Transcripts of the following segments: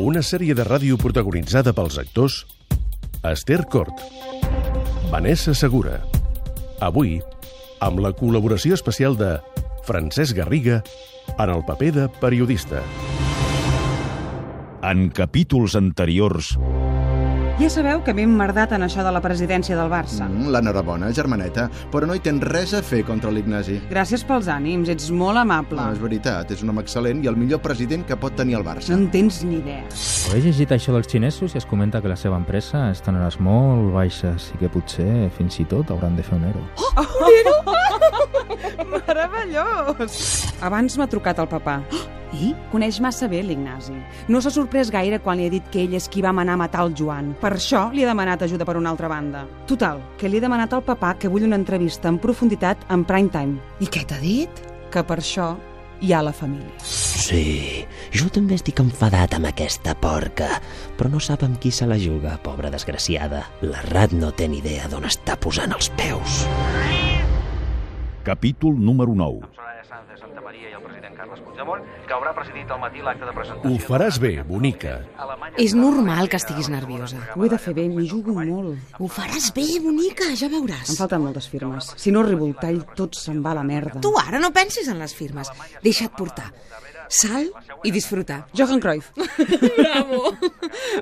Una sèrie de ràdio protagonitzada pels actors Esther Cort, Vanessa Segura. Avui, amb la col·laboració especial de Francesc Garriga en el paper de periodista. En capítols anteriors... Ja sabeu que m'he emmerdat en això de la presidència del Barça. Mm, L'enhorabona, germaneta, però no hi tens res a fer contra l'Ignasi. Gràcies pels ànims, ets molt amable. No, és veritat, és un home excel·lent i el millor president que pot tenir el Barça. No en tens ni idea. He llegit això dels xinesos i es comenta que la seva empresa està en hores molt baixes i que potser fins i tot hauran de fer un ERO. Meravellós! Abans m'ha trucat el papà. I? Coneix massa bé l'Ignasi. No s'ha sorprès gaire quan li he dit que ell és qui va manar a matar el Joan. Per això li he demanat ajuda per una altra banda. Total, que li he demanat al papà que vull una entrevista en profunditat en prime time. I què t'ha dit? Que per això hi ha la família. Sí, jo també estic enfadat amb aquesta porca, però no sap amb qui se la juga, pobra desgraciada. La rat no té ni idea d'on està posant els peus. Capítol número 9. amb Soraya Sanz de Santa Maria i el president Carles Puigdemont, que haurà presidit al matí l'acte de presentació... Ho faràs bé, bonica. Alemanya- És normal que estiguis nerviosa. Ho he de fer bé, m'hi jugo molt. Ho faràs bé, bonica, ja veuràs. Em falten moltes firmes. Si no arribo al tall, tot se'n va a la merda. Tu ara no pensis en les firmes. Deixa't portar. Sal i disfrutar. Johan Cruyff. Bravo!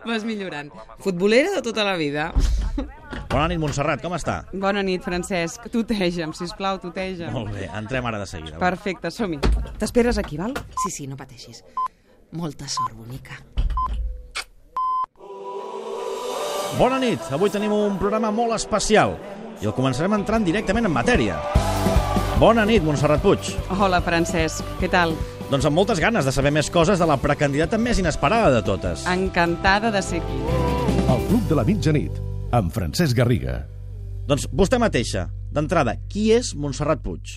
Vas millorant. Futbolera de tota la vida. Bona nit, Montserrat, com està? Bona nit, Francesc. Tuteja'm, sisplau, tuteja'm. Molt bé, entrem ara de seguida. Perfecte, som-hi. T'esperes aquí, val? Sí, sí, no pateixis. Molta sort, bonica. Bona nit, avui tenim un programa molt especial i el començarem entrant directament en matèria. Bona nit, Montserrat Puig. Hola, Francesc. Què tal? Doncs amb moltes ganes de saber més coses de la precandidata més inesperada de totes. Encantada de ser aquí. El Club de la Mitjanit, amb Francesc Garriga. Doncs vostè mateixa, d'entrada, qui és Montserrat Puig?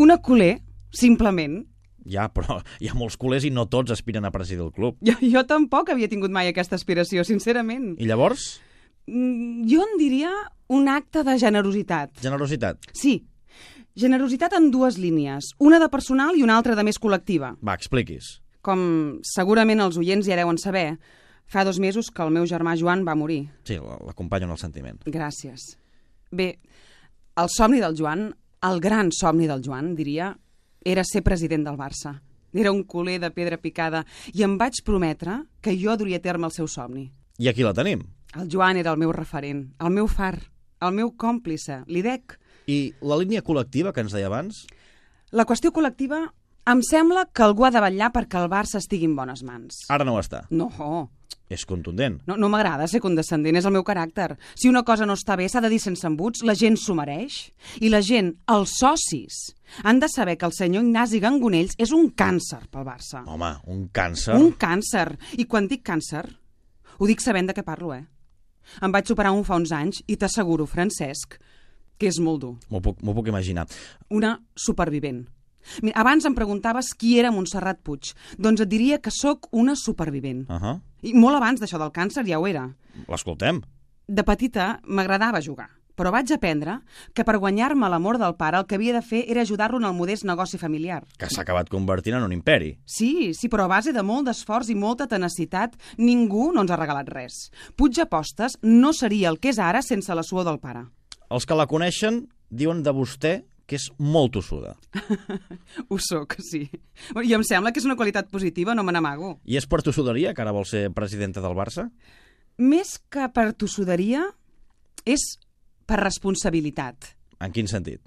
Una culer, simplement. Ja, però hi ha molts culers i no tots aspiren a presidir el club. Jo, jo tampoc havia tingut mai aquesta aspiració, sincerament. I llavors, Mm, Jo en diria un acte de generositat. generositat. Sí, generositat en dues línies, una de personal i una altra de més col·lectiva. Va, expliquis. Com segurament els oients ja deuen saber, fa dos mesos que el meu germà Joan va morir. Sí, l'acompanyo en el sentiment. Gràcies. Bé, el somni del Joan, el gran somni del Joan, diria, era ser president del Barça. Era un culer de pedra picada i em vaig prometre que jo duria a terme el seu somni. I aquí la tenim. El Joan era el meu referent, el meu far, el meu còmplice, l'IDEC. I la línia col·lectiva que ens deia abans? La qüestió col·lectiva em sembla que algú ha de vetllar perquè el Barça estigui en bones mans. Ara no ho està. No, És contundent. no, no m'agrada ser condescendent, és el meu caràcter. Si una cosa no està bé, s'ha de dir sense embuts, la gent s'ho mereix. I la gent, els socis, han de saber que el senyor Ignasi Gangonells és un càncer pel Barça. Home, un càncer. Un càncer. I quan dic càncer, ho dic sabent de què parlo, eh? Em vaig superar un fa uns anys i t'asseguro, Francesc, que és molt dur. M'ho puc, m'ho puc imaginar. Una supervivent. Mira, abans em preguntaves qui era Montserrat Puig. Doncs et diria que sóc una supervivent. Uh -huh. I molt abans d'això del càncer ja ho era. L'escoltem. De petita m'agradava jugar, però vaig aprendre que per guanyar-me l'amor del pare el que havia de fer era ajudar-lo en el modest negoci familiar. Que s'ha acabat convertint en un imperi. Sí, sí, però a base de molt d'esforç i molta tenacitat, ningú no ens ha regalat res. Puig Apostes no seria el que és ara sense la suor del pare. Els que la coneixen diuen de vostè que és molt tossuda. Ho sóc, sí. I em sembla que és una qualitat positiva, no me n'amago. I és per tossuderia que ara vol ser presidenta del Barça? Més que per tossuderia, és per responsabilitat. En quin sentit?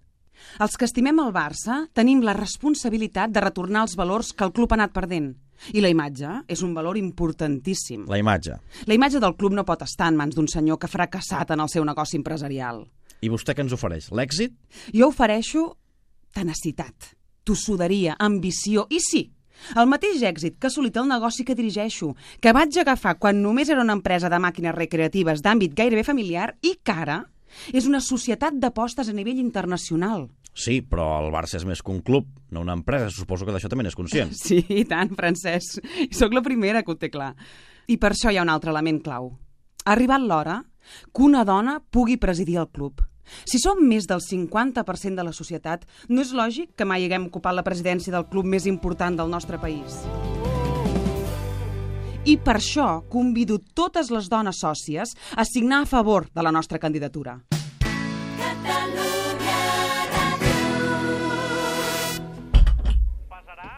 Els que estimem el Barça tenim la responsabilitat de retornar els valors que el club ha anat perdent. I la imatge és un valor importantíssim. La imatge. La imatge del club no pot estar en mans d'un senyor que ha fracassat en el seu negoci empresarial. I vostè què ens ofereix? L'èxit? Jo ofereixo tenacitat, tossuderia, ambició i sí, El mateix èxit que ha assolit el negoci que dirigeixo, que vaig agafar quan només era una empresa de màquines recreatives d'àmbit gairebé familiar i que ara és una societat d'apostes a nivell internacional. Sí, però el Barça és més que un club, no una empresa. Suposo que d'això també n'és conscient. Sí, i tant, Francesc. Soc la primera que ho té clar. I per això hi ha un altre element clau. Ha arribat l'hora que una dona pugui presidir el club. Si som més del 50% de la societat, no és lògic que mai haguem ocupat la presidència del club més important del nostre país. I per això convido totes les dones sòcies a signar a favor de la nostra candidatura.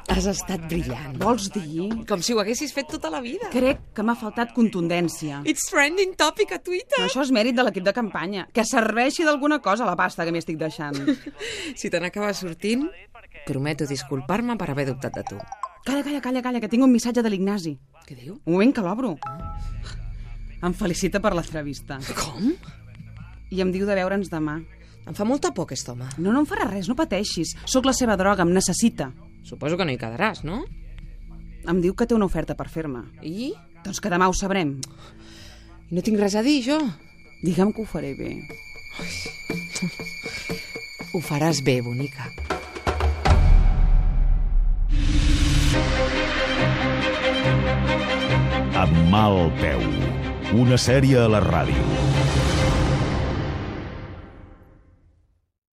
Has estat brillant. Vols dir? Com si ho haguessis fet tota la vida. Crec que m'ha faltat contundència. It's trending topic a Twitter. Però això és mèrit de l'equip de campanya. Que serveixi d'alguna cosa la pasta que m'estic deixant. Si te n'acaba sortint, prometo disculpar-me per haver dubtat de tu. Calla, calla, calla, calla, que tinc un missatge de l'Ignasi. Què diu? Un moment que l'obro. Em felicita per l'entrevista. Com? I em diu de veure'ns demà. Em fa molta por aquest home. No, no em farà res, no pateixis. Sóc la seva droga, em necessita. Suposo que no hi quedaràs, no? Em diu que té una oferta per fer-me. I? Doncs que demà ho sabrem. No tinc res a dir, jo. Digue'm que ho faré bé. Ho faràs bé, bonica. Amb mal peu. Una sèrie a la ràdio.